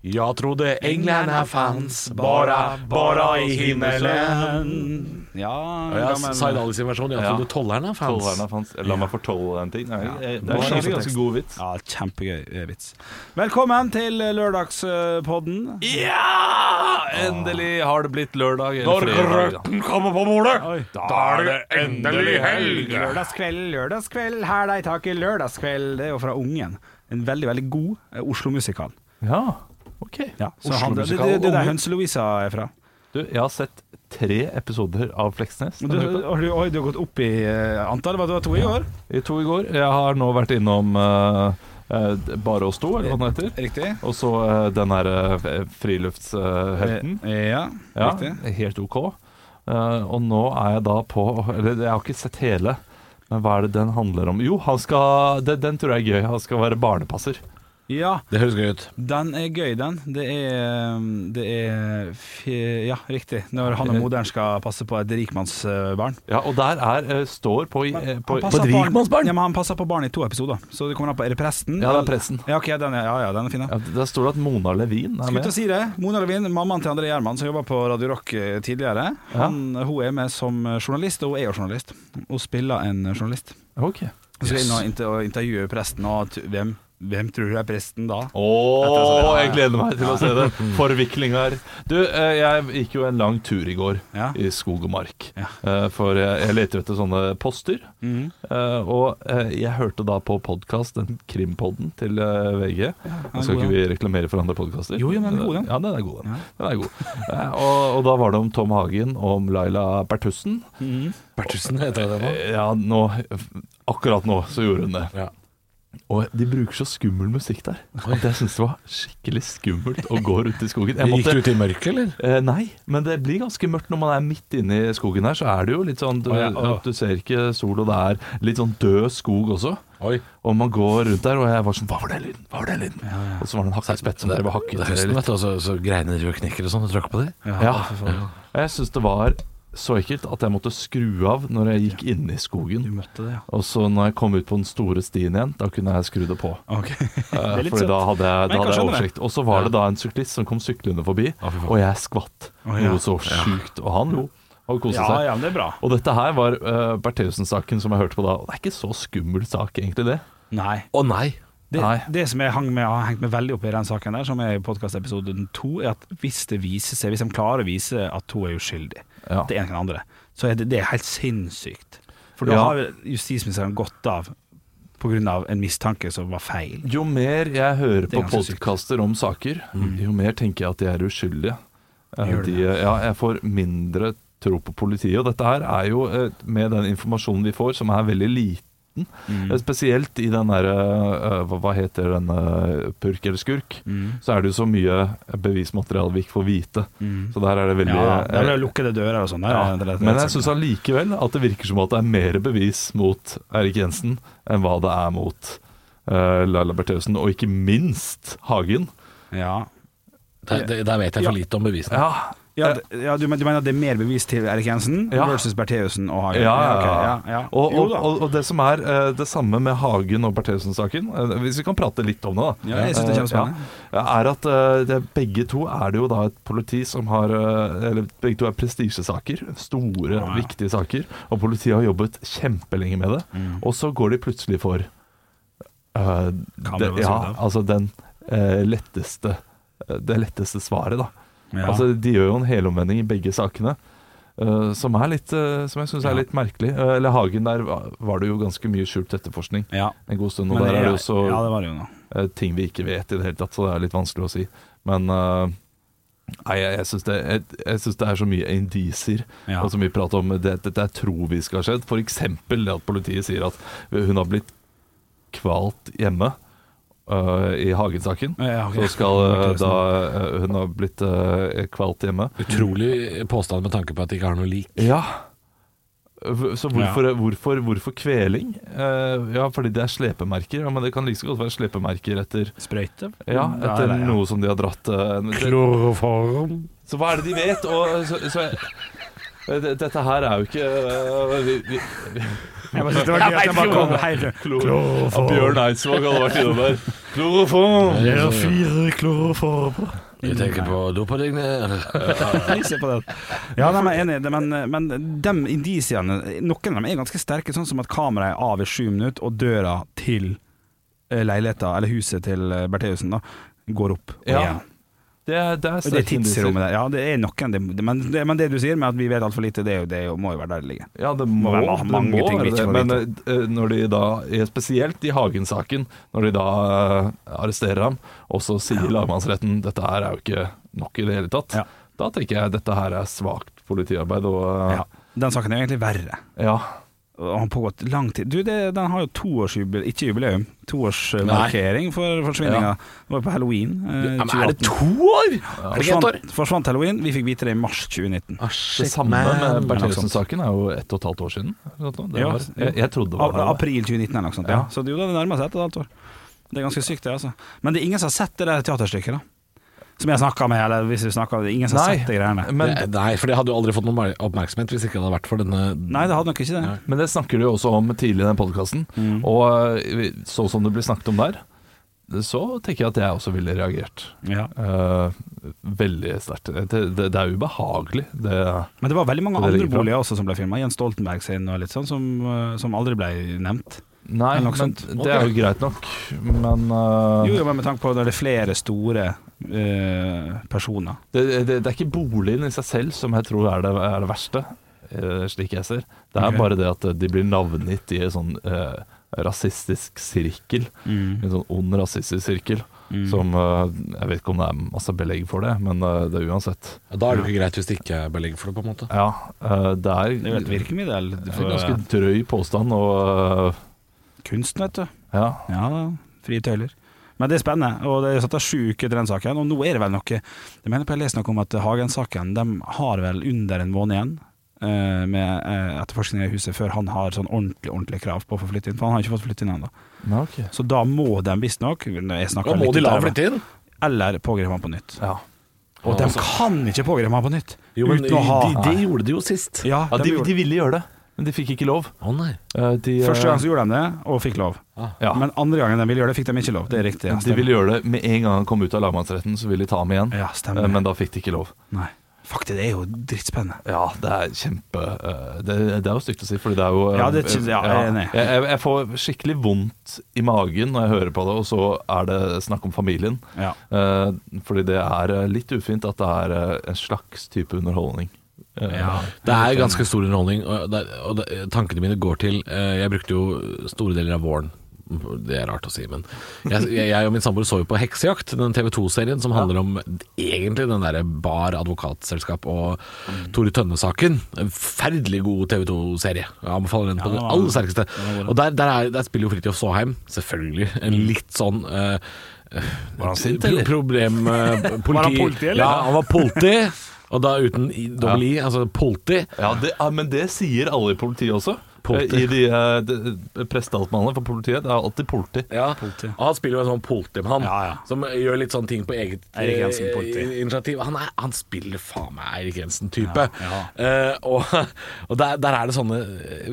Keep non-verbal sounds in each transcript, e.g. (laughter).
Jag trodde änglarna fanns bara, bara i himmelen. Ja, Ja, ja, men- Zaidali sin versjon. Jeg Ja. trodde tollerna fanns. Tolverne fanns. La meg fortolle den ting. Nei, eh, Det Bare er sjanse egentlig ganske tekst. god vits. ja, kjempegøy eh, vits. Velkommen til eh, lørdagspodden. Ja! Endelig har det blitt lørdag. eller Når fredag, da. grøten kommer på bordet, Oi. da er det endelig helg. Lørdagskveld, lørdagskveld, her deg tak i lørdagskveld. Det er jo fra Ungen. En veldig, veldig god eh, Oslo-musikal. Ja, ok. Ja, så han, det, det, Oslo-musikal. det, det der Ungen. Hønse-Lovisa er fra. Du, jeg har sett tre episoder av Fleksnes. Du, har du, oi, du har gått opp i eh, antall, var det var to i år? I to i går. Jeg har nå vært innom eh, eh, Bare oss to, eller hva den heter. Riktig. Og så eh, den her eh, friluftshelten. Eh, Ja, Ja, riktig. helt OK. Eh, og nå er jeg da på Eller jeg har ikke sett hele, men hva er det den handler om? Jo, han skal, den, den tror jeg er gøy. Han skal være barnepasser. Ja, Det høres gøy ut. den er gøy, den. Det er, um, det er fi- Ja, riktig. Når han og moderen skal passe på et rikmannsbarn. Ja, og der er eh, står på, i- eh, Han på, på passer dri- barn- Ja, men han passer på barn i to episoder. Så det kommer an på Er det presten? Ja, det er presten. Ja, ok, den er, ja, ja, den er fin, da. ja, Der står det at Mona Levin er Skulle med. til å si det. Mona Levin, mammaen til André Gjerman, som jobba på Radio Rock eh, tidligere, han, eh, hun er med som journalist, og hun er jo journalist. Hun spiller en eh, journalist. Ok Hun skal inn og inter- og intervjue presten, og t- hvem, hvem tror du er presten da? Åh, jeg gleder meg til å se det. (laughs) Forviklinger. Du, eh, jeg gikk jo en lang tur i går Ja. i skog og mark. Ja. Eh, For jeg jeg leter etter sånne poster. Mhm. Eh, Og eh, jeg hørte da på podkast, den krimpodden til eh, VG. Nå skal god, ikke vi reklamere for andre podkaster. Jo, jo, men den er god, den. Ja, den er god, den. den er god. Eh, Og, og da var det om Tom Hagen og om Laila Bertussen. Bertussen heter det nå. Eh, Ja, nå Akkurat nå så gjorde hun det. Ja. Og de bruker så skummel musikk der at jeg syns det var skikkelig skummelt å gå rundt i skogen. Jeg Gikk måtte, du ut i mørket, eller? eh, nei, men det blir ganske mørkt når man er midt inne i skogen her. Så er det jo litt sånn du, Å, ja, å. at du ser ikke sol, og det er litt sånn død skog også. Oi. Og man går rundt der, og jeg var sånn Hva var den lyden? Hva var den lyden? Og så var det en hakkespett som drev og hakket. Det er høsten, litt. vet du, og altså, så, så greiner og knekker og sånn. Du tråkker på det. Ja. Og Jeg syns det var så ekkelt at jeg måtte skru av når jeg gikk inne i skogen. Du møtte det, ja. Og så når jeg kom ut på den store stien igjen, da kunne jeg skru det på. (laughs) Ok. Eh, Det er litt søtt. Fordi da hadde Men jeg, da jeg kan hadde jeg skjønne det. oversikt. Og så var det da en syklist som kom syklende forbi, fy faen. og jeg skvatt. Å, ja. Noe så sjukt. Og han lo og koste Ja, seg. ja, men det er bra. Og dette her var uh, Bertheussen-saken som jeg hørte på da. Og det er ikke så skummel sak, egentlig, det. Nei. Å nei. Det, Nei. det som jeg hang med, har hengt meg veldig opp i den saken der, som er i podkastepisoden to, er at hvis det viser seg, hvis de klarer å vise at hun er uskyldig Ja. til en eller andre, så er det, det er helt sinnssykt. For da Ja. har jo justisministeren gått av på grunn av en mistanke som var feil. Jo mer jeg hører Det er på ganske sykt. Mm. podkaster om saker, jo mer tenker jeg at de er uskyldige. Eh, Gjør De, ja, jeg får mindre tro på politiet. Og dette her er jo eh, med den informasjonen vi får, som er veldig liten. Mm. eh, Spesielt i den derre hva, hva heter den eh, purk eller skurk? Mm. Så er det jo så mye bevismateriale vi ikke får vite. Så der er det veldig Mm. Ja, eh, der ble lukkede dører og sånn. der, ja, det- det- det- men jeg syns allikevel at det virker som at det er mer bevis mot Erik Jensen enn hva det er mot eh, Laila Bertheussen, og ikke minst Hagen. ja. Der, der- der vet jeg for Ja. lite om bevisene. Ja, Ja, d- ja, du, men- du mener at det er mer bevis til Erik Jensen Ja. versus Bertheussen og Hagen? ja, ja, ok, ja. ja, ja. Og, Jo og, da. og, og det som er eh, det samme med Hagen og Bertheussen-saken, eh, hvis vi kan prate litt om det, da, Ja, jeg synes det er Eh, kjempespennende. ja, er at eh, det, begge to er det jo da et politi som har eh, Eller begge to er prestisjesaker. Store, Ja. viktige saker. Og politiet har jobbet kjempelenge med det. Og så går de plutselig for eh, det, Mm. Kameraet ja, som er der. altså den eh, letteste eh, det letteste svaret, da. Ja. Altså, de gjør jo en helomvending i begge sakene. eh, som, er litt, eh, som jeg syns er litt merkelig. Eh, eller Hagen, der var var det jo ganske mye skjult etterforskning ja. en god stund. Og Men der er det jeg- jo også Ja, det var det jo nå. eh, ting vi ikke vet i det hele tatt, så det er litt vanskelig å si. Men eh, nei, jeg, jeg syns det, jeg, jeg synes det er så mye indisier Ja. og så mye prat om det, dette jeg tror vi skal ha skjedd. F.eks. det at politiet sier at hun har blitt kvalt hjemme eh, i Hagen-saken. Ja, ok. Så skal eh, da eh, Hun har blitt eh, kvalt hjemme. Utrolig påstand med tanke på at de ikke har noe lik. Ja. V- Så hvorfor, hvorfor, hvorfor kveling? Eh, ja, fordi det er slepemerker. Ja, men det kan like så godt være slepemerker etter, Sprøyte? ja, etter det, ja. noe som de har dratt eh, det- Kloroform. Så hva er det de vet? Og, så, så jeg, Eh, det- Dette her er jo ikke eh, vi, vi, Jeg bare synes det var gøy at jeg bare kom helt at Bjørn Eidsvåg hadde vært innom der. Kloroform! Det Altså, er fire kloroform. Du tenker på dopadigner? Jeg ser på det. Ja, nei, men jeg er enig, men, eh, men de indisiene, noen av dem er ganske sterke, sånn som at kameraet er av i sju minutter, og døra til eh, leiligheta, eller huset til eh, Bertheussen, da, går opp. og Ja. igjen. Det er, det er Og det sterke indisier. tidsrommet der, ja, det er noen, det, men, det, men det du sier med at vi vet altfor lite, det, er jo, det er jo- må jo være der det ligger. Ja, det må, være det ma- må mange ting vi være ikke det. får Men eh, når de da, eh, spesielt i Hagen-saken, når de da eh, arresterer ham, og så sier lagmannsretten dette her er jo ikke nok i det hele tatt, Ja. da tenker jeg dette her er svakt politiarbeid. Og, eh, Ja. Den saken er egentlig verre. ja. Og han har pågått lang tid. Du, det, den har jo toårsjubileum, ikke jubileum, toårsmarkering for forsvinninga. Det var på halloween. Eh, Ja, men er det 2018. to år?! Er det ikke ett år? forsvant, forsvant halloween, vi fikk vite det i mars 2019. Ah, Det shit, samme med man. Bertheussen-saken er jo ett og et halvt år siden. eller noe sånt. Det Ja, var, jeg, jeg trodde det Av- var det. April 2019 eller noe sånt. Ja. Ja. Så det, jo, da, det nærmer seg et og et halvt år. Det er ganske sykt, det, altså. Men det er ingen som har sett det der teaterstykket, da. Som jeg snakka med, eller hvis vi snakka Ingen som har Nei, sett de greiene. men, Det- Nei, for det hadde jo aldri fått noen oppmerksomhet hvis ikke det hadde vært for denne Nei, det hadde nok ikke det. Nei. men det snakker du jo også om tidlig i den podkasten. Mm. Og eh, sånn som det blir snakket om der, så tenker jeg at jeg også ville reagert. Ja. Eh, veldig sterkt. Det, det, det er ubehagelig. Det, Men det var veldig mange Det ligger andre bra. boliger også som ble filma. Jens Stoltenberg sin og litt sånn, som, eh, som aldri ble nevnt. nei, Men nok men sant. det er jo greit nok, men eh, Jo, jo, men med tanke på at det er flere store eh, personer. det, det, det er ikke boligen i seg selv som jeg tror er det, er det verste, eh, slik jeg ser. Det er Ok. bare det at de blir navngitt i en sånn eh, rasistisk sirkel. Mm. En sånn ond rasistisk sirkel. Mm. Som eh, Jeg vet ikke om det er masse belegg for det, men eh, det er uansett. Ja, Da er det jo ikke greit hvis det ikke er belegg for det, på en måte. Ja, eh, det er, Det er jo et virkemiddel det er for eh, en ganske drøy påstand, og kunsten, vet du. eh, ja. Ja, frie tøyler. Men det er spennende, og det er satt av sju uker til den saken. Og nå er det vel noe Jeg mener på jeg leste noe om at Hagen-saken De har vel under en måned igjen eh, med eh, etterforskning i huset før han har sånn ordentlig ordentlig krav på å få flytte inn. For han har ikke fått flytte inn ennå. Ja, ok. Så da må de visstnok jeg snakker Da må litt de la utover, ham flytte inn! altså. Eller pågripe han på nytt. Ja. Og de kan ikke pågripe han på nytt Jo, men uten å ha de, de gjorde det jo sist. ja, Ja, de de, gjorde- de ville gjøre det, men de fikk ikke lov. Å nei. Ah. Eh, De, eh, Første gang så gjorde de det, og fikk lov. ja, Men andre gangen de ville gjøre det, fikk de ikke lov. Det er riktig. Ja, De ville gjøre det med en gang han kom ut av lagmannsretten, så ville de ta ham igjen. ja Eh, stemmer. Men da fikk de ikke lov. Nei. Fuck, det er jo drittspennende. Ja, det er kjempe eh, Det, det er jo stygt å si, fordi det er jo eh, Ja, det er ikke- ja, jeg er ja. enig. Jeg, jeg, jeg får skikkelig vondt i magen når jeg hører på det, og så er det snakk om familien. Ja. Eh, Fordi det er eh, litt ufint at det er eh, en slags type underholdning. Eh, Det er ganske stor underholdning, og, det, er- og det, tankene mine går til eh, Jeg brukte jo store deler av våren. Det er rart å si, men jeg, jeg, jeg og min samboer så jo på Heksejakt, den TV 2-serien som handler om egentlig den derre Bar advokatselskap og Tore Tønne-saken. En Forferdelig god TV 2-serie. Jeg anbefaler den på Ja, det den var- aller sterkeste. den var Og der, der, er, der spiller jo Fridtjof Saaheim, selvfølgelig, en litt sånn eh, Var han sint, pro- eller? Problem eh, politi. Var han politi, eller? Ja, han var politi, og da uten i- dobbel i, altså politi. Ja, det, ja, men det sier alle i politiet også. Politi. Eh, I de, eh, de prestealtmannene for politiet. Det er alltid politi. Ja, Politi. og han spiller jo en sånn politimann Ja, ja. som gjør litt sånne ting på eget Eirik Jensen, politi. eh, initiativ. Han, er, han spiller faen meg Eirik Jensen-type. Ja, Eh, og (laughs) og der, der er det sånne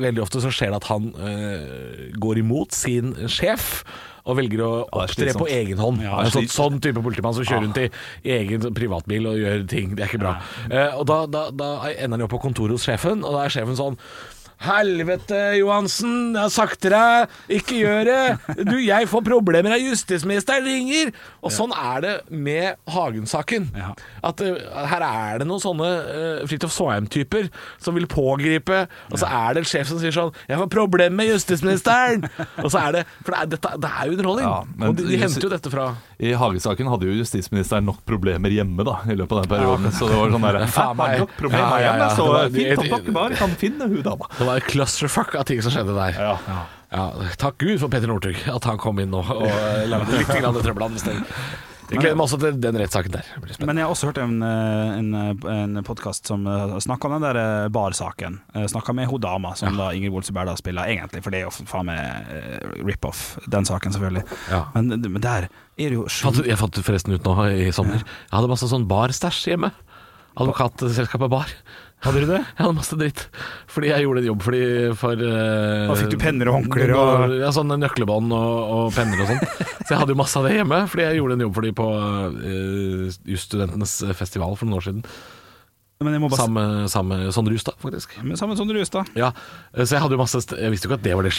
Veldig ofte så skjer det at han eh, går imot sin sjef. Og velger å Ja, det er opptre på slitsomt. egen hånd. Ja, En det er sånn, sånn type politimann som Ah. kjører rundt i i egen sånn privatbil og gjør ting. Det er ikke bra. Eh, og da, da, da ender han jo opp på kontoret hos sjefen, og da er sjefen sånn Helvete, Johansen. Jeg har sagt til deg, ikke gjør det. Du, jeg får problemer av justisministeren ringer. Og sånn er det med Hagen-saken. Ja. At eh, her er det noen sånne uh, Fridtjof Saaheim-typer som vil pågripe, og så er det en sjef som sier sånn 'Jeg får problemer med (laughs) justisministeren'. og så er det For det er, dette, det er jo underholdning. Ja, men- og de, de henter jo dette fra I Hagesaken hadde jo justisministeren nok problemer hjemme da, i løpet av den perioden. Så det var sånn der faen meg. Nok problemer Ja, ja, ja. hjemme, så Det var- det- fint at dere bare kan finne hun dama. Det var et clusterfuck av ting som skjedde der. Ja. Ja, takk Gud for Petter Northug, at han kom inn nå og eh, (laughs) lagde litt grann trøbbel andre steder. Jeg gleder meg også til den rettssaken der. Det blir spennende. Men jeg har også hørt en, eh, en, eh, en podkast som eh, snakka om den der eh, barsaken. Eh, Snakka med hun dama som da Ingrid Olse Berdal spiller, egentlig, for det er jo faen meg eh, rip-off, den saken, selvfølgelig. Ja. Men, men der er det jo Fant, sju jeg fant det forresten ut nå i sommer. Jeg hadde masse sånn barstæsj hjemme. Advokatselskapet Bar. Hadde du det? Jeg hadde masse dritt. Fordi jeg gjorde en jobb fordi for eh, Da fikk du penner og håndklær og- når- Ja, sånne nøklebånd og, og penner og sånn. Så jeg hadde jo masse av det hjemme, fordi jeg gjorde en jobb for de på eh, jusstudentenes festival for noen år siden. Men jeg må bare Sammen sammen med Sondre Justad, faktisk. Men sammen med Sondre Justad. Ja, eh, så jeg hadde jo masse st Jeg visste jo ikke at det var det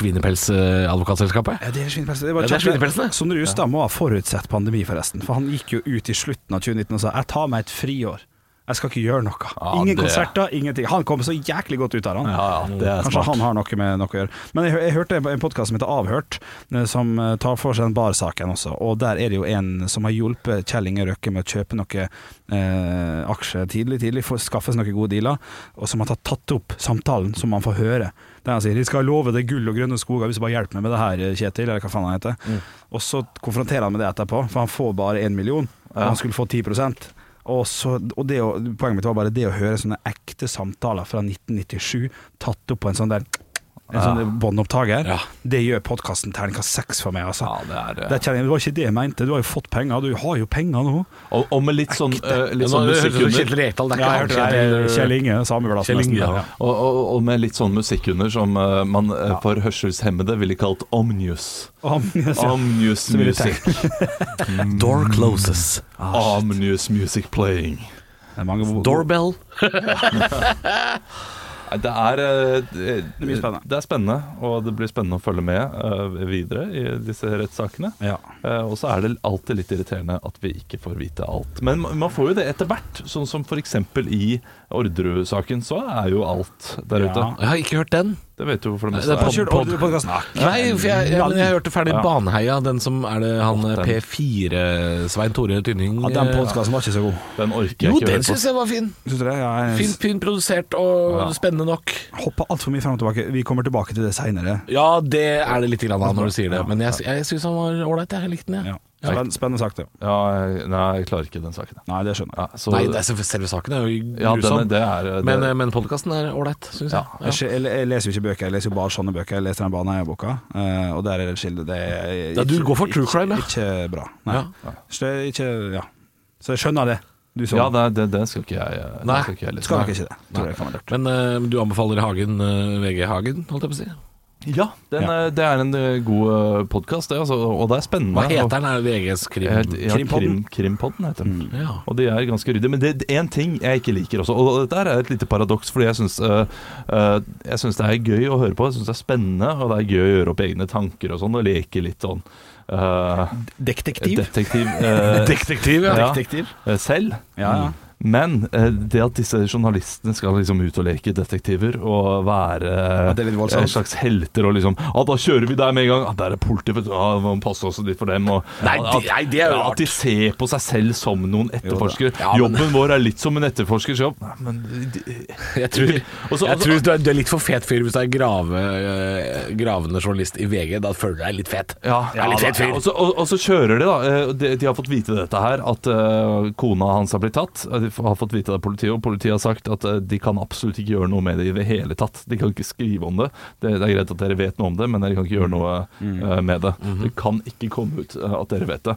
svinepelsadvokatselskapet. Ja, det er svinepelsen. Det Ja, det er svinepelsen, det. Sondre Justad må ha forutsett pandemi, forresten. For han gikk jo ut i slutten av 2019 og sa 'jeg tar meg et friår'. Jeg skal ikke gjøre noe. Ja, Ingen det- konserter, ingenting. Han kom så jæklig godt ut av det, han. Ja, ja, det er Kanskje smart. han har noe med noe å gjøre. Men jeg, hø- jeg hørte en podkast som heter Avhørt, eh, som eh, tar for seg den barsaken også. Og der er det jo en som har hjulpet Kjell Inge Røkke med å kjøpe noen eh, aksjer tidlig, tidlig, for å skaffe seg noen gode dealer, og som har tatt, tatt opp samtalen som man får høre. Der han sier 'de skal love deg gull og grønne skoger hvis du bare hjelper meg med det her, eh, Kjetil', eller hva faen han heter. Og så konfronterer han med det etterpå, for han får bare én million, og han skulle få 10 og, så, og det, å- Poenget mitt var bare det å høre sånne ekte samtaler fra 1997 tatt opp på en sånn der En sånn båndopptaker. Ja. Det gjør podkasten terningkast seks for meg, altså. Ja, det er eh, Det, kjenner jeg, det var ikke det jeg mente. Du har jo fått penger. Du har jo penger nå. Og, og med litt sånn, eh, litt Nå sånn høres det ut musikk som under. Kjetil Rekdal, det er Ja, ikke jeg han. hørte det. Kjetil- Kjell Inge, samme plass Kjell nesten. Inge, ja. (laughs) Ja. Og, og, og med litt sånn musikk under som eh, man eh, for hørselshemmede ville kalt omnius. Omnius Så ville jeg music. Door closes. (laughs) Omnius music playing. Det er mange gode- Doorbell. Nei, Det er, eh, det, Det blir spennende. det er spennende, og det blir spennende å følge med eh, videre i disse rettssakene. Ja. Eh, og så er det alltid litt irriterende at vi ikke får vite alt. Men man man får jo det etter hvert, sånn som f.eks. i Orderud-saken, så er jo alt der Ja. ute. Jeg har ikke hørt den. Det vet du hvorfor det Nei, meste det er er. på- Kjør Pod- podkasten. Nei, for jeg, jeg, men jeg hørte ferdig Ja. Baneheia, den som er det han den. P4 Svein Tore Tynning Ja, den eh, podkasten var ikke så god. Den orker jeg Jo, ikke den høre på. syns jeg var fin. Syns du det? Ja, jeg Fint, fint produsert og spennende nok. hoppa altfor mye frem og tilbake. Vi kommer tilbake til det seinere. Ja, det er det litt grann av når du sier det, men jeg, jeg syns han var ålreit. Jeg likte den, jeg. Ja. Spenn, spennende sak, det. Ja, jeg- nei, jeg klarer ikke den saken. Nei, det skjønner jeg. Ja, så, Nei, det er, selve- selve saken er jo ja, den, grusom, er- det er, det, men, eh, men podkasten er ålreit, syns jeg. Ja. Jeg, skje- jeg, jeg leser jo ikke bøker, jeg leser jo bare sånne bøker. Jeg leser den Baneheia-boka, eh, og der er det et skille. Det er Ja, du går for true crime, ja. ja. Ikke bra. Nei. Ja. Så, det er ikke, ja. så jeg skjønner det. Du så ja, det. det, er- det, det skal ikke jeg, eh, eh, sånn. Nei, det skal ikke jeg lese. Skal nok ikke det. Tror jeg kan være lurt. Men eh, du anbefaler Hagen, eh, VG Hagen, holdt jeg på å si. Ja, den, Ja. eh, det er en eh, god podkast, det, altså, og det er spennende. Hva heter den? Mm. Er det VGs krim? Ja, Krimpodden. Krimpodden? Krimpodden heter den. Ja. Og de er ganske ryddige. Men det er én ting jeg ikke liker også, og dette er et lite paradoks, fordi jeg syns eh, eh, jeg syns det er gøy å høre på, jeg syns det er spennende, og det er gøy å gjøre opp egne tanker og sånn, og leke litt sånn eh, Detektiv. detektiv eh, Detektiv, ja. ja, Detektiv. eh, selv. Ja, ja. Men eh, det at disse journalistene skal liksom ut og leke detektiver og være Ja, det er litt voldsomt. eh, slags helter og liksom Ja, da kjører vi der med en gang. Ja, der er politiet, vet du. Ja, vi må passe oss litt for dem. Og, Nei, Ja, det- nei, det er jo ja, rart. At de ser på seg selv som noen etterforskere. Ja, men- Jobben vår er litt som en etterforskers jobb. Nei, men de- Jeg tror, Altså, Og så- jeg tror du, er, du er litt for fet fyr hvis du er grave, eh, gravende journalist i VG. Da føler du deg litt fet. Ja, Jeg er litt da, fet fyr. og, så, og, og så kjører de, da. Eh, De, de har fått vite dette her, at eh, kona hans har blitt tatt. Eh, De f- har fått vite det av politiet, og politiet har sagt at eh, de kan absolutt ikke gjøre noe med det i det hele tatt. De kan ikke skrive om det. Det, det er greit at dere vet noe om det, men dere kan ikke gjøre noe Mm. eh, med det. Mhm. Det kan ikke komme ut eh, at dere vet det.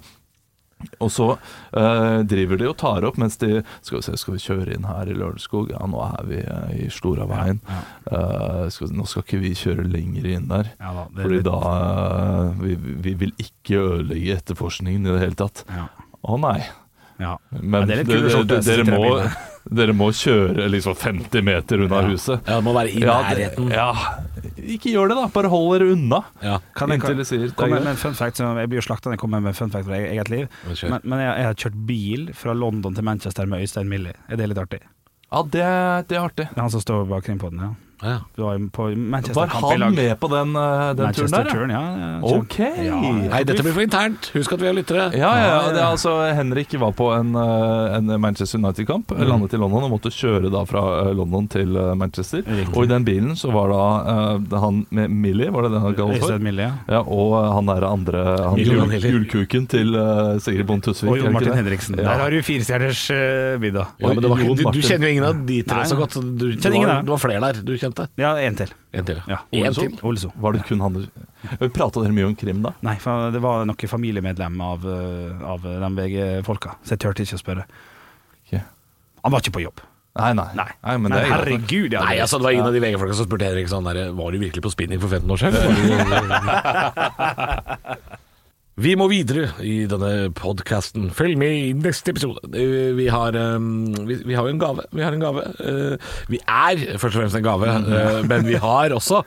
Og så eh, driver de og tar opp mens de Skal vi se, skal vi kjøre inn her i Lørenskog? Ja, nå er vi eh, i Storaveien. Eh, skal, nå skal ikke vi kjøre lenger inn der. Ja da, det- fordi da eh, vi, vi vil ikke ødelegge etterforskningen i det hele tatt. Ja. Å nei. Ja. Men Ja, det er litt dere- kul skjorte, dere- sitter dere, jeg må, i dere må kjøre liksom 50 meter unna huset. Ja, det må være i det- nærheten. ja. Ikke gjør det, da. Bare hold dere unna. Ja. Kan jeg- Inntil de sier det er Kom med greit. med en fun fact, som- jeg blir jo slakta når jeg kommer med en fun fact fra e-, eget liv. Men kjør. Men, men jeg, jeg har kjørt bil fra London til Manchester med Øystein Millie. Er det litt artig? Det Ja, det, det er artig. er han som står bak Krimpodden, ja. Ja. Vi var jo på Var Manchester-kamp i han lag. med på den, eh, den turen der? ja? Manchester-turen, ja. ja, kjent. Ok! Nei, dette blir for internt. Husk at vi har lyttere. Ja, ja, ja. Det er altså, Henrik var på en, eh, en Manchester United-kamp. Mm. Landet i London og måtte kjøre da fra eh, London til eh, Manchester. Og i den bilen så var da eh, han med Millie, var det det han kalte Øystein for? Millie, ja. Ja, og eh, han der andre han, Millie og jul, Millie. Julkuken til eh, Sigrid Bonde Tusvik. Og er det Jon ikke Martin det? Henriksen. Ja. Der har du firestjerners uh, middag. Ja, men det var, Jon du, du Martin. kjenner jo ingen av de tre Nei. så godt. så Du, du, Kjenner ingen var, av dem. du var flere der du kjente. Ja, en til. En til. Ja. En Olso. til. Olso. Var det kun han du Prata dere mye om krim da? Nei, for det var noen familiemedlem av, eh, av de VG-folka, så jeg turte ikke å spørre. Ok. Han var ikke på jobb. Nei, nei. Nei, men det er greit. herregud, ja. Nei, altså, det var en av de VG-folka som spurte Henrik sånn der Var du virkelig på spinning for 15 år siden? Vi må videre i denne podkasten. Følg med i neste episode. Eh, Vi har, eh, vi, vi har jo en gave. Vi har en gave. Eh, Vi er først og fremst en gave, Mm. eh, men vi har også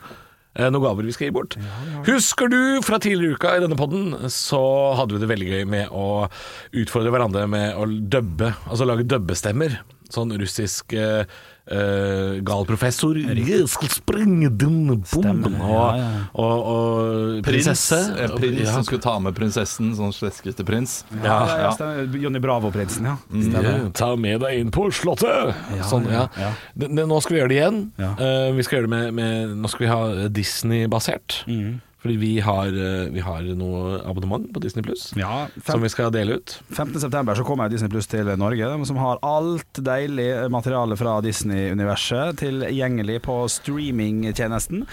eh, noen gaver vi skal gi bort. Husker du fra tidligere i uka i denne podden, så hadde vi det veldig gøy med å utfordre hverandre med å dubbe, altså lage dubbestemmer. Sånn russisk eh, eh, gal professor Jeg skal sprenge den bomben! ja, Og, ja. og, og Prins, prinsesse. eh, prins som skulle ta med prinsessen, sånn sleskete prins. Ja, ja, ja. stemmer. Johnny Bravo-prinsen, ja. Mm. Ja, Ta med deg inn på Slottet! sånn, ja. ja, ja. Det- det- Nå skal vi gjøre det igjen. Ja. Eh, vi skal gjøre det med, med Nå skal vi ha Disney-basert. Mm. Fordi vi har, eh, vi har noe abonnement på Disney pluss Ja, som fem, vi skal dele ut. 15. september så kommer Disney Pluss til Norge, de som har alt deilig materiale fra Disney-universet tilgjengelig på streamingtjenesten,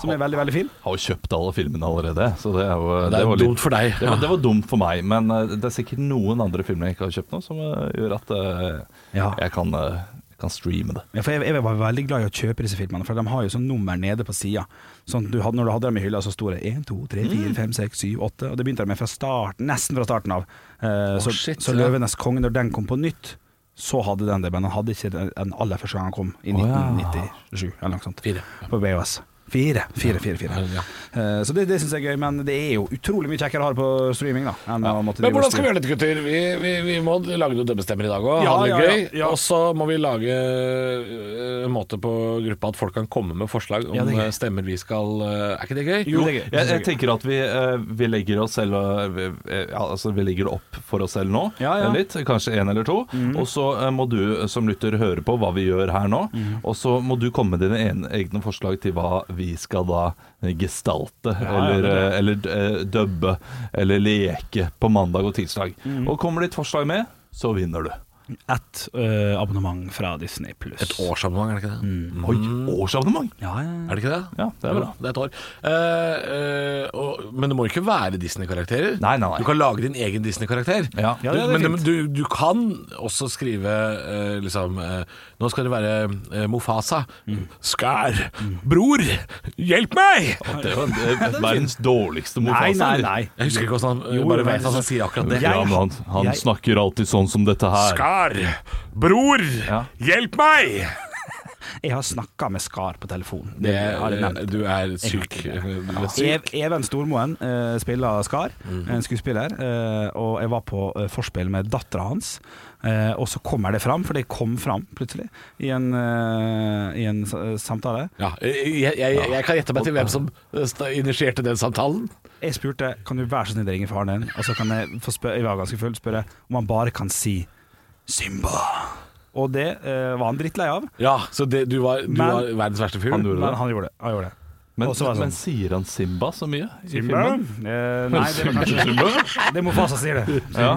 som er veldig, veldig fin. Har jo kjøpt alle filmene allerede, så det er jo Det er var litt- dumt for deg. Det var, Ja. det var dumt for meg, men eh, det er sikkert noen andre filmer jeg ikke har kjøpt nå, som eh, gjør at eh, Ja. jeg kan, eh, kan streame det. Ja, for jeg, jeg var veldig glad i å kjøpe disse filmene, for de har jo sånn nummer nede på sida. Sånn at du hadde, når du hadde dem i hylla, så sto det 1, 2, 3, Mm. 4, 5, 6, 7, 8. Og det begynte de med fra starten, nesten fra starten av. Eh, så shit, så ja. Løvenes konge, når den kom på nytt, så hadde den det, men den hadde ikke den den aller første gang den kom, i Å, ja. 1997 eller noe sånt. Fire. På VHS. Fire, fire, fire. fire. Ja. Eh, så det, det syns jeg er gøy, men det er jo utrolig mye kjekkere å ha det på streaming, da. Enn å måtte (laughs) Men hvordan skal vi gjøre dette, gutter? Vi, vi, vi må lage noen dømmestemmer i dag òg. Ja, ha det ja, gøy. ja, ja. Og så må vi lage øh, en måte på gruppa at folk kan komme med forslag om Ja, det er gøy. øh, stemmer vi skal øh, Er ikke det gøy? Jo, det er gøy. Jeg, jeg tenker at vi, eh, vi legger oss selv eh, vi, eh, ja, altså vi legger det opp for oss selv nå, Ja, ja. eh, litt, kanskje en eller to. Og så eh, må du eh, som lytter høre på hva vi gjør her nå, og så må du komme med dine en, egne forslag til hva vi skal da eh, gestalte, eller, eh, eller eh, dubbe, eller leke på mandag og tirsdag. Og kommer ditt forslag med, så vinner du. Ett eh, abonnement fra Disney pluss. Et årsabonnement, er det ikke det? Mm. Mm. Oi, årsabonnement! Ja, ja, ja. Er det ikke det? Ja, det er Jo, bra. Det er et år. Eh, eh, og, men det må ikke være Disney-karakterer. Nei, nei, nei. Du kan lage din egen Disney-karakter. Ja. Ja, det er Du- men fint. du, du kan også skrive eh, liksom eh, Nå skal det være eh, Mofasa. Skær! Bror! Hjelp meg! Det var det er eh, verdens dårligste Nei, motfase. nei, eller? nei. Jeg husker ikke hvordan han Jo, jeg bare det var- vet at han sier akkurat det. Jeg- Ja, men han han jeg- snakker alltid sånn som dette her. Skar! Bror! Ja. Hjelp meg! Jeg har snakka med Skar på telefon. Det Det, har jeg nevnt. du er syk. Du er syk. Ev, Even Stormoen eh, spiller Skar, Mhm. en skuespiller. eh, og jeg var på eh, forspill med dattera hans, eh, og så kommer det fram, for det kom fram plutselig i en, eh, i en sa- samtale. Ja, jeg, jeg, jeg kan gjette meg til hvem som eh, sta- initierte den samtalen. Jeg spurte kan du være så snill å ringe faren din, og så kan jeg få spør, jeg var ganske full, spørre om han bare kan si Simba. Og det eh, var han drittlei av, Ja, så det, du, var, du Men- var verdens verste fyr? Han gjorde men det. han gjorde det. Han gjorde det. Men, Og så var det men sånn. sier han Simba så mye i filmen? Eh, nei, det var kanskje Det må Fasa si det. Ja.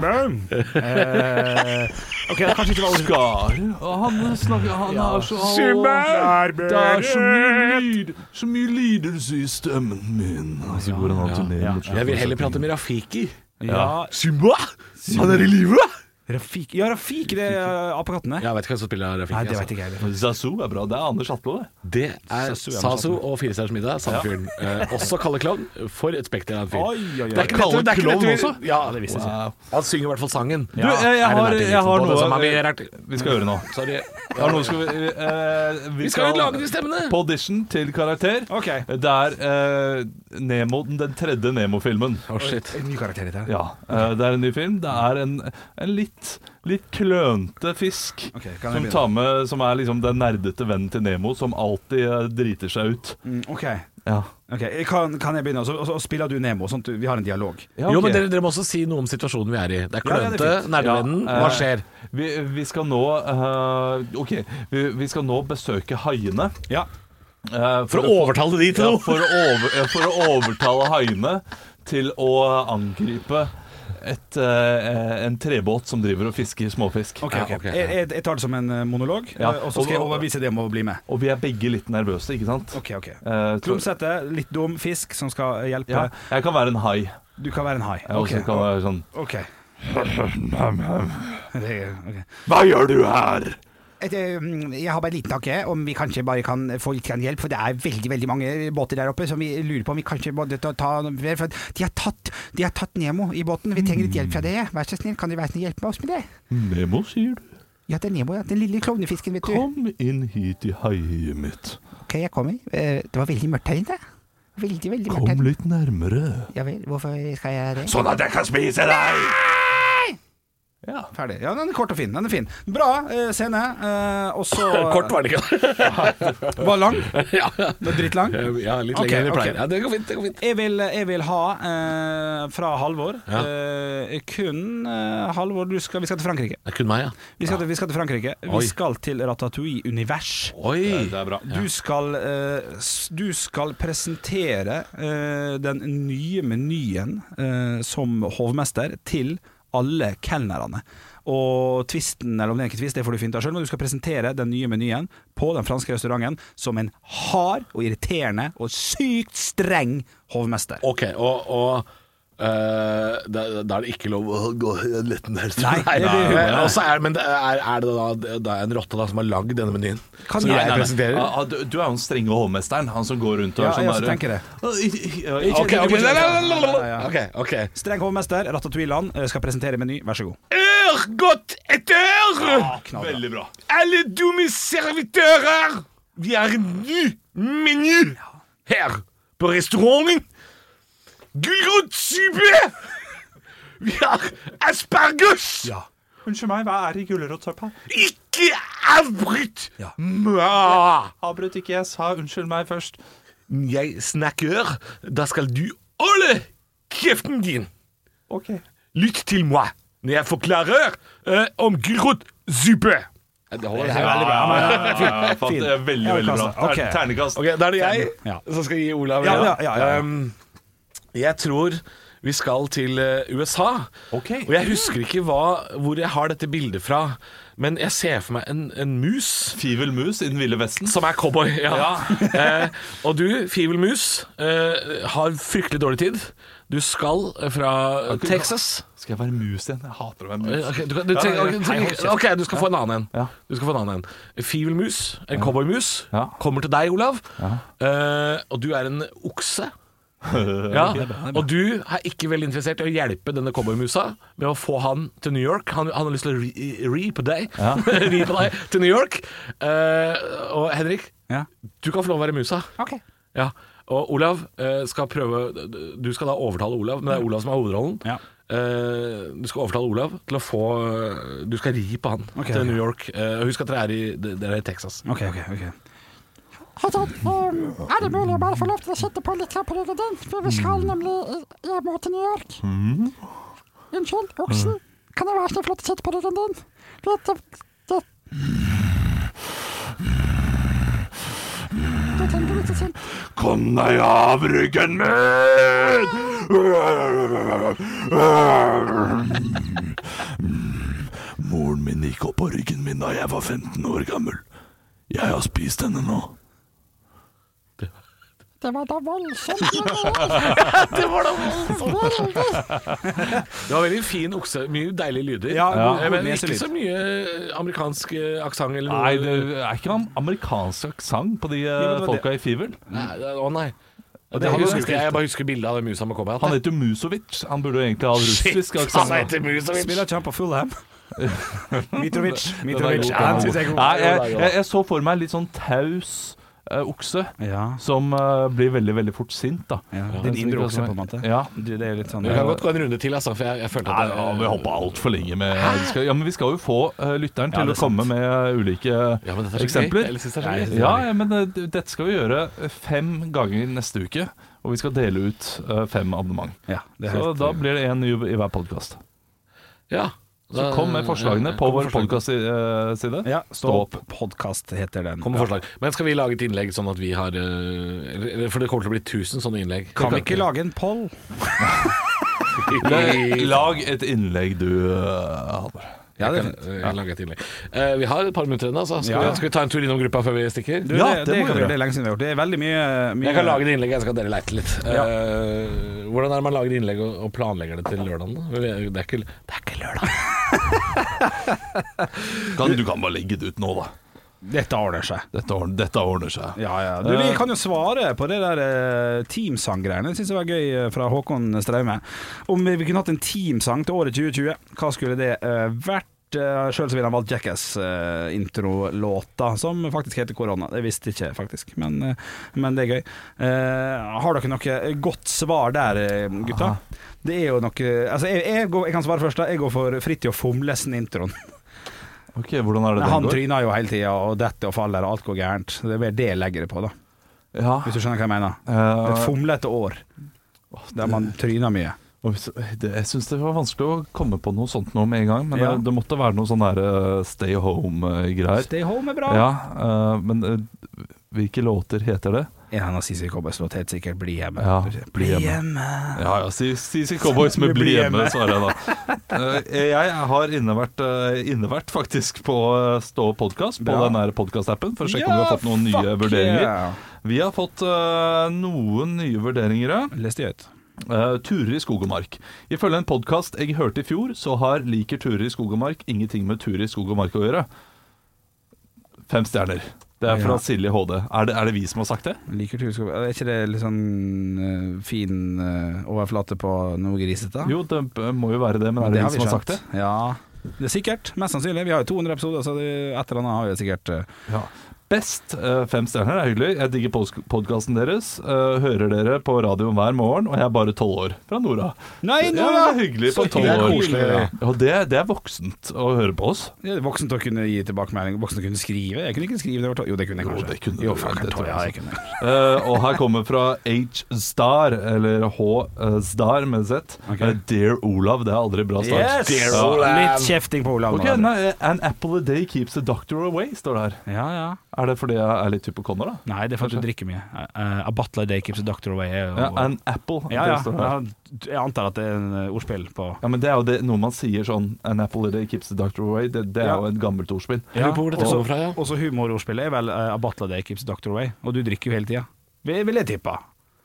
Eh, ok, det kanskje ikke var ordet. Skar og Han snakker Han har så Åh, Det er så mye lyd Så mye lidelse i stemmen min. Og så går han av turneen ja. mot slutten. Jeg vil heller prate med Rafiki. Ja, Simba! Han er i live! Rafik Ja, Rafik, det er apekatten der. Jeg vet ikke hvem som spiller Rafiki. Nei, det vet altså. ikke jeg. Zazu er bra. Det er Anders Hatlo, det. Det er Sasu, ja, Sasu og Fire stjerners middag, samme fyren. Eh, også Kalle Klovn. For et spekter av en fyr. Oi, oi, oi. Det er ikke Kalle dette- det er ikke Klovn dette- også? Ja, Ja, det visste jeg ikke. Wow. Han synger i hvert fall sangen. Du, jeg, jeg, har, jeg har noe noe vi skal gjøre nå. Sorry. Jeg har noe skal vi, eh, Vi skal jo lage de stemmene! på audition til karakter. Ok. Det er eh, Nemo, den tredje Nemo-filmen. Å, shit. En ny karakter i det. Ja, eh, det er en ny film. Det er en, en litt, litt klønte fisk Ok, kan jeg som, begynne? tar med, som er liksom den nerdete vennen til Nemo, som alltid eh, driter seg ut. Mm, ok, Ja. ok. Kan, kan jeg begynne? Og så- Og så spiller du Nemo, sånn at du- vi har en dialog. Jo, men dere, dere må også si noe om situasjonen vi er i. Det er Ja, ja, det klønete, er nerdevennen. Ja, eh, Hva skjer? Vi, vi skal nå eh, OK. Vi, vi skal nå besøke haiene. Ja. eh, For å overtale de til ja, noe! for, å over, eh, for å overtale haiene til å angripe et, eh, en trebåt som driver og fisker småfisk. Ok, Ja, ok. ok, ja. Jeg, jeg, jeg tar det som en eh, monolog, Ja. eh, og så skal jeg Og- overbevise dem om å bli med. Og vi er begge litt nervøse, ikke sant? Ok, ok. Eh, så- Klumsete, litt dum fisk som skal hjelpe. Ja, jeg kan være en hai. Du kan være en hai. Jeg også kan være sånn Ok. Det er- ok. Hva gjør du her? et, eh, jeg har bare en liten tanke om vi kanskje bare kan få litt grann hjelp, for det er veldig veldig mange båter der oppe som vi lurer på om vi kanskje må ta, ta flere. For de har, tatt, de har tatt Nemo i båten, vi trenger litt hjelp fra dere. Vær så snill, kan dere være snill hjelpe oss med det? Nemo, sier du? Ja, det er Nemo, ja. Den lille klovnefisken, vet du. Kom inn hit i heiet mitt. Ok, jeg kommer. Eh, Det var veldig mørkt her inne. Veldig, veldig mørkt. Kom her. litt nærmere. Ja vel, hvorfor skal jeg det? Sånn at jeg kan spise deg! Ja, ferdig. Ja, Den er kort og fin. Den er fin. Bra eh, scene. Eh, og så (laughs) (laughs) Kort var det ikke? Var lang. ja, Den er Drittlang. ja, litt Ok, lenger enn vi ok. pleier. Ja, det går fint. det går fint Jeg vil, jeg vil ha eh, fra Halvor Ja. eh, kun eh, Halvor, du skal, vi skal til Frankrike. Det er kun meg, ja. Vi skal, til, vi skal til Frankrike. Oi. Vi skal til Ratatouille-univers. Oi! Det er bra. Du skal, eh, s- du skal presentere eh, den nye menyen eh, som hovmester til alle kelnerne. Og tvisten, eller om det er ikke tvist, det får du finne ut av sjøl, men du skal presentere den nye menyen på den franske restauranten som en hard og irriterende og sykt streng hovmester. Ok, og, og eh, da, da er det ikke lov å gå lett ned Nei, det blir humor. Og så er, men det er, er det da, da er en rotte da som har lagd denne menyen? Kan som jeg- jeg nei, nei. presenterer? Ah, ah, du, du er jo den strenge hovmesteren, han som går rundt Ja, og er sånn jeg også der- tenker det. Ah, i- i- ja, Ok, ikke- ok, ikke- lalalala. ok, ok Streng hovmester, Ratatouille-land, eh, skal presentere meny, vær så god. Ør godt etter Ah, Veldig bra. alle dumme servitører Vi har en ny meny her på restauranten Gulrotsuppe Vi har aspargus Unnskyld meg, hva er i gulrotsøppa? Ikke avbryt meg! Avbryt ikke, jeg sa unnskyld meg først. Jeg snakker, da skal du holde kjeften din. Ok. Lytt til meg når jeg forklarer eh, om gulrotsuppe. Det holder her. Veldig bra. men- Ja, ja, ja, fant- Fin. det er veldig, veldig bra. Ternekast, ok. Ter- Ternekast. Ok, Da er det jeg Ja. som skal gi Olav Ja, ja, ja, ja, ja. Um, Jeg tror vi skal til eh, USA. Ok. Og jeg husker ikke hva, hvor jeg har dette bildet fra, men jeg ser for meg en, en mus. Fivelmus i Den ville vesten. Som er cowboy, ja. (laughs) eh, og du, Fivelmus, eh, har fryktelig dårlig tid. Du skal eh, fra Texas. Skal jeg være mus igjen? Jeg hater å være Eh, mus. ok, du, kan- du, trenger- ok, du, trenger- ok, du skal få en annen en. Ja. Du skal få en annen en. Fivelmus, en cowboymus, Ja. kommer til deg, Olav. Eh, og du er en (laughs) okse. Ja, og du er ikke veldig interessert i å hjelpe denne cowboymusa med å få han til New York. Han, han har lyst til å ri, ri på deg. (laughs) ri på deg til New York. Eh, og Henrik, Ja. du kan få lov å være musa. Ok. Ja, og Olav eh, skal prøve Du skal da overtale Olav, men det er Olav som har hovedrollen. Ja. Eh, Du skal overtale Olav til å få Du skal ri på han Ok, til ok. New York. Eh, Husk at dere er i, dere er i Texas. Ok, ok, ok. Hei sann. Um, er det mulig å bare få lov til å sitte på litt knapper under den? For vi Mm. skal nemlig Jeg må til New York. Unnskyld, Mm. oksen. Kan jeg være så flott å sitte på ryggen din? Dette, det, det tenker sånn, vi ikke til. Kom deg av ryggen min! Moren min gikk opp på ryggen min da jeg var 15 år gammel. Jeg har spist henne nå. Det var da (laughs) voldsomt. men Det var da voldsomt! det var veldig. Det var veldig fin okse. Mye deilige lyder. Ja, god- Eh, Men god ikke neselyd. så mye amerikansk eh, aksent eller noe. Nei, det er ikke noen amerikansk aksent på de eh, men det var folka i Fivel. Nei, det- Å nei. det Jeg hadde husker vært ikke, jeg bare husker bildet av den musa med cowboy. Han heter jo Musovic. Han burde jo egentlig ha russisk Han aksent. heter Musovic. Spiller ikke han på (laughs) Fulham? Mitrovic. Den Mitrovic. er god, Ja, han den synes jeg er god. Nei, jeg, jeg, jeg så for meg litt sånn taus eh, okse. Ja. Som eh, blir veldig, veldig fort sint, da. ja. Din indre okse, på en måte. Ja. Du, det er litt sånn Vi kan godt gå en runde til, altså, for jeg, jeg følte Nei, at ja, vi hoppa altfor lenge med vi skal, Ja, men vi skal jo få eh, lytteren Ja, til det å er komme med eh, ulike Ja, men dette er så gøy. eksempler. Jeg synes det er så gøy. Ja, ja, men eh, d- dette skal vi gjøre eh, fem ganger neste uke. Og vi skal dele ut eh, fem abonnement. Ja, det er Så helt- da blir det én ny i hver podkast. Ja. Så Da- kom med Eh, forslagene ja, på kom med vår eh, forslag. podkastside. ja, Stå opp. Podkast heter den. Kom med forslag. Men skal vi lage et innlegg sånn at vi har eh, eller- eller- For det kommer til å bli 1000 sånne innlegg. Kan vi ikke (laughs) lage en poll? Lag et innlegg du, eh, Halvor. Ja, det er fint. Ja. Lage et innlegg. Eh, vi har et par minutter igjen, altså. Skal, Ja. vi, skal vi ta en tur innom gruppa før vi stikker? Du, Ja, det, det det, kan vi må vi gjøre. gjøre. det er lenge siden vi har gjort det. Det er veldig mye, mye Jeg kan lage det innlegget, jeg skal dere leite litt. Eh, hvordan er det man lager innlegg og, og planlegger det til lørdagen? da? Det er ikke, det er ikke lørdag. Kan, du kan bare legge det ut nå, da. Dette ordner seg. Dette, ordner- dette ordner seg. Ja, ja. Du, vi kan jo svare på det der eh, teamsanggreiene. Det syns jeg var gøy eh, fra Håkon Straume. Om vi, vi kunne hatt en teamsang til året 2020, hva skulle det eh, vært? Sjøl ville han valgt Jackass-introlåta, som faktisk heter Korona. Det visste ikke jeg faktisk, men, eh, men det er gøy. Eh, har dere noe godt svar der, eh, gutta? Det er jo noe Altså, jeg, jeg, går, jeg kan svare først. da Jeg går for Fridtjof Fomlesen-introen. Ok, Hvordan er det Han den går? tryner jo hele tida og detter og faller, og alt går gærent. Det er vel det jeg legger det på, da. Ja. Hvis du skjønner hva jeg mener. eh, Et fomlete år der man Mm. tryner mye. og hvis- det, jeg syns det var vanskelig å komme på noe sånt nå med en gang, men Ja. eh, det måtte være noe sånn der eh, stay home-greier. Stay home er bra. Ja, eh, men eh, hvilke låter heter det? En av Sissy Kobbes låt helt sikkert 'Bli hjemme'. Ja, Bli Bli hjemme. Ja, ja, si, si, (laughs) si Cowboys med Bli hjemme, svarer jeg da. Eh, jeg har innevært, eh, innevært faktisk på eh, Stå podkast, på Bra. den her podkastappen, for å sjekke om vi har fått noen nye fuck vurderinger. yeah. Vi har fått eh, noen nye vurderinger. ja. Les de ut. Eh, turer i skog og mark. Ifølge en podkast jeg hørte i fjor, så har liker turer i skog og mark ingenting med turer i skog og mark å gjøre. Fem stjerner. Det er fra Ja. Silje HD. Er det, er det vi som har sagt det? Liker turskap Er ikke det litt sånn eh, fin eh, overflate på noe grisete? Jo, det eh, må jo være det, men er det, har vi som har skjønt. sagt det? Ja. Det er sikkert. Mest sannsynlig. Vi har jo 200 episoder, så det, et eller annet har vi sikkert eh, Ja. Best eh, fem stjerner er hyggelig. Jeg digger podkasten deres. Eh, hører dere på radioen hver morgen, og jeg er bare tolv år. Fra Nora. Nei, nå Ja, hyggelig på Så 12 hyggelig. Det år. er koselig, ja. Ja, det, det er voksent å høre på oss. Det er voksent å kunne gi tilbakemelding. Voksent å kunne skrive. Jeg kunne ikke skrive det over tolv. Jo, det kunne jeg Jo, kanskje. det kunne du jo, vel, fuck, det jeg tror tror jeg jeg, altså. jeg kunne. Eh, og her kommer fra H-Star, eller H-Star med Z. Ok. Eh, Dear Olav, det er aldri bra start. Yes! Ja. Litt kjefting på Olav. Ok, nå, nei, eh, An apple a day keeps the doctor away, står det her. da. Ja, ja. Er det fordi jeg er litt hypokonder, da? Nei, det er fordi du drikker mye. Uh, a butler day keeps a doctor away. er jo- Ja, an eh, apple. ja, Det står ja. her. Jeg- Jeg antar at det er en eh, ordspill på Ja, men det er jo det, noe man sier sånn An apple a day keeps the doctor away. Det, det er Ja. jo et gammelt ordspill. Jeg lurer på hvor dette Også- kommer fra, ja. Også humorordspillet er vel eh, a butler day keeps a doctor away, og du drikker jo hele tida. Vil vil jeg tippe.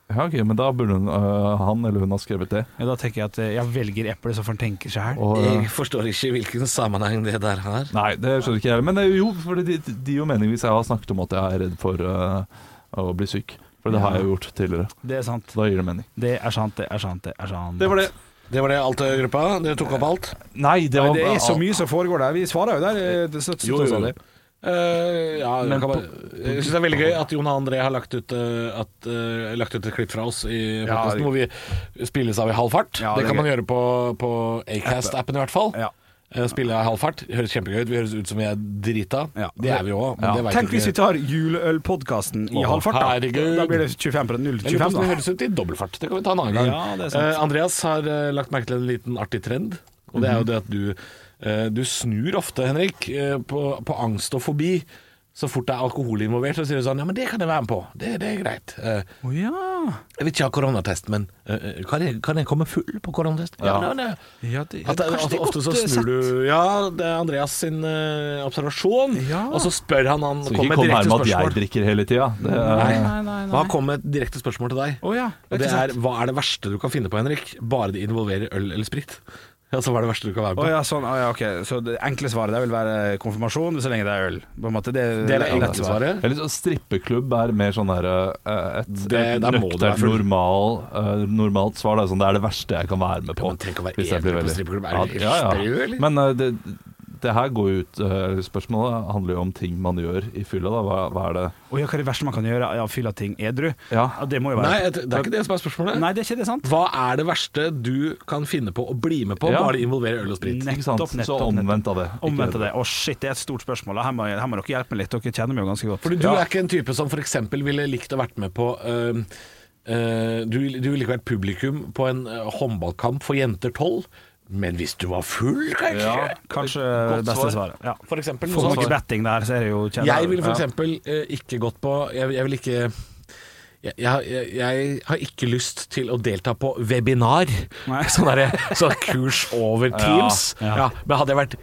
Ja, ok, Men da burde hun, øh, han eller hun ha skrevet det. Ja, da tenker jeg at eh, jeg velger eplet, så får en tenke sjæl. Og, øh, Jeg forstår ikke hvilken sammenheng det der har. nei, det skjønner ikke jeg heller. Men det er jo, for det det gir jo mening hvis jeg har snakket om at jeg er redd for øh, å bli syk. For det har jeg jo gjort tidligere. Det er sant. Da gir det mening. Det er sant, det er sant, det er sant. Det var det. Det var det alt av gruppa? Dere tok opp alt? Nei, det Nei, var det er så mye som foregår der. Vi svarer jo der. eh, Det, så, så, Jo, jo. så- så- Eh, ja, jeg kan bare, jeg syns det er veldig gøy at Jon og André har lagt ut, eh, at, eh, lagt ut et klipp fra oss i podkasten det- hvor vi spilles av i halv fart. Ja, det, det er kan man gøy. gjøre på, på Acast-appen i hvert fall. Ja. Eh, Spille av i halv fart. Høres kjempegøy ut. Vi høres ut som vi er drita. Ja. Det er vi jo òg, men det Ja. veit Tenk hvis vi tar juleølpodkasten i Å, halvfart, da. herregud. Da blir det 25 på Jeg lurer på hvordan 0,25, det da. høres ut i dobbeltfart. Det kan vi ta en annen gang. Ja, det er sant. Eh, Andreas har eh, lagt merke til en liten artig trend. Og det er jo det at du, eh, du snur ofte, Henrik, eh, på, på angst og fobi. Så fort det er alkohol involvert, så sier du sånn Ja, men det kan jeg være med på. Det, det er greit. Eh, Å ja. jeg vil ikke ha koronatest, men eh, kan, jeg, kan jeg komme full på koronatest? Ja, men det- Ja, det, At det, kanskje altså, det er ofte så godt, eh, snur sett. du Ja, det er Andreas sin eh, observasjon, Ja. og så spør han han Så kom ikke med kom her direkte med at jeg spørsmål. drikker hele tida. Det er- Nei, Nei, nei, nei. Og han kom med et direkte spørsmål til deg. Å ja, Og det ikke sant. er hva er det verste du kan finne på, Henrik? Bare det involverer øl eller sprit. (laughs) Altså hva er det verste du kan være Å på? ja, sånn, å ja, ok. Så det enkle svaret der vil være konfirmasjon, så lenge det er øl. På en måte, det, Det er det ja, enkle svaret. Eller så strippeklubb er mer sånn der eh, et, Det- et der må du være nøkternt, full. normal, eh, normalt svar. Det er, sånn, det er det verste jeg kan være med på. men tenk å være hvis jeg edru blir på veldig- strippeklubb. Er Ja, det ja, ja. strø, eller? Men eh, det, det her går jo ut eh, Spørsmålet handler jo om ting man gjør i fylla. da. Hva, hva er det Å ja, hva er det verste man kan gjøre? Ja, fylle ting edru? Ja. det må jo Nei, være det er ikke det som er spørsmålet. Nei, det er ikke det, sant? Hva er det verste du kan finne på å bli med på, Ja. bare det involverer øl og sprit? Nei. Ikke sant? Nettopp, Så nettopp, omvendt av det. Ikke Omvendt av det. Å shit, det er et stort spørsmål. Her må, her må dere hjelpe meg litt. Dere kjenner meg jo ganske godt. Fordi du er ikke en type som f.eks. ville likt å vært med på øhm, øh, du, vil- du ville ikke vært publikum på en øh, håndballkamp for jenter tolv, men hvis du var full, kanskje? Ja. Kanskje Godt det beste svar. svaret. Ja. For eksempel, Får noe man sånt. ikke betting der, så er det jo kjenner- Jeg ville for eksempel eh, ikke gått på Jeg, jeg vil ikke jeg, jeg, jeg har ikke lyst til å delta på webinar. Nei. (laughs) Sånn derre- sånn kurs over Teams. Ja, ja. Men hadde jeg vært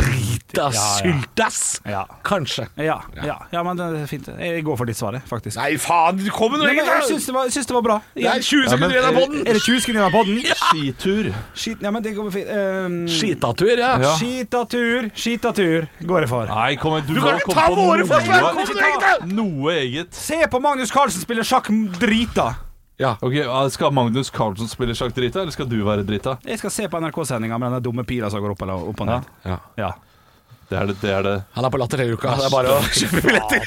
Syltass, Ja, ja. syltass! Ja. Kanskje. Ja, ja, ja, men det er fint. Jeg går for ditt svaret, faktisk. Nei, faen, kom med Nei, men jeg noe! syns det, var- jeg syns det var bra. Det er 20 sekunder igjen av podden! Er det 20 sekunder igjen av podden? Skitur. Skit, ja, men det går fint. Um, Skitatur, ja. Ja. Skitatur, skitatur går jeg for. Nei, kom igjen. Du, kan må ikke komme ta på våre noe- forslag, kom med noe eget, da! Noe eget. Se på Magnus Carlsen spille sjakk m- drita. Ok, ja, Skal Magnus Carlsen spille sjakk drita, eller skal du være drita? Jeg skal se på NRK-sendinga med den dumme pila som går opp, eller, opp og ned. Ja. Ja. Det er det. det, er det. Han er på latter hele uka. Det er bare å kjøpe billetter.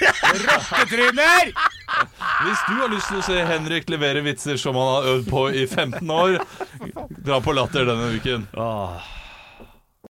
Hvis du har lyst til å se Henrik levere vitser som han har øvd på i 15 år, dra på Latter denne uken.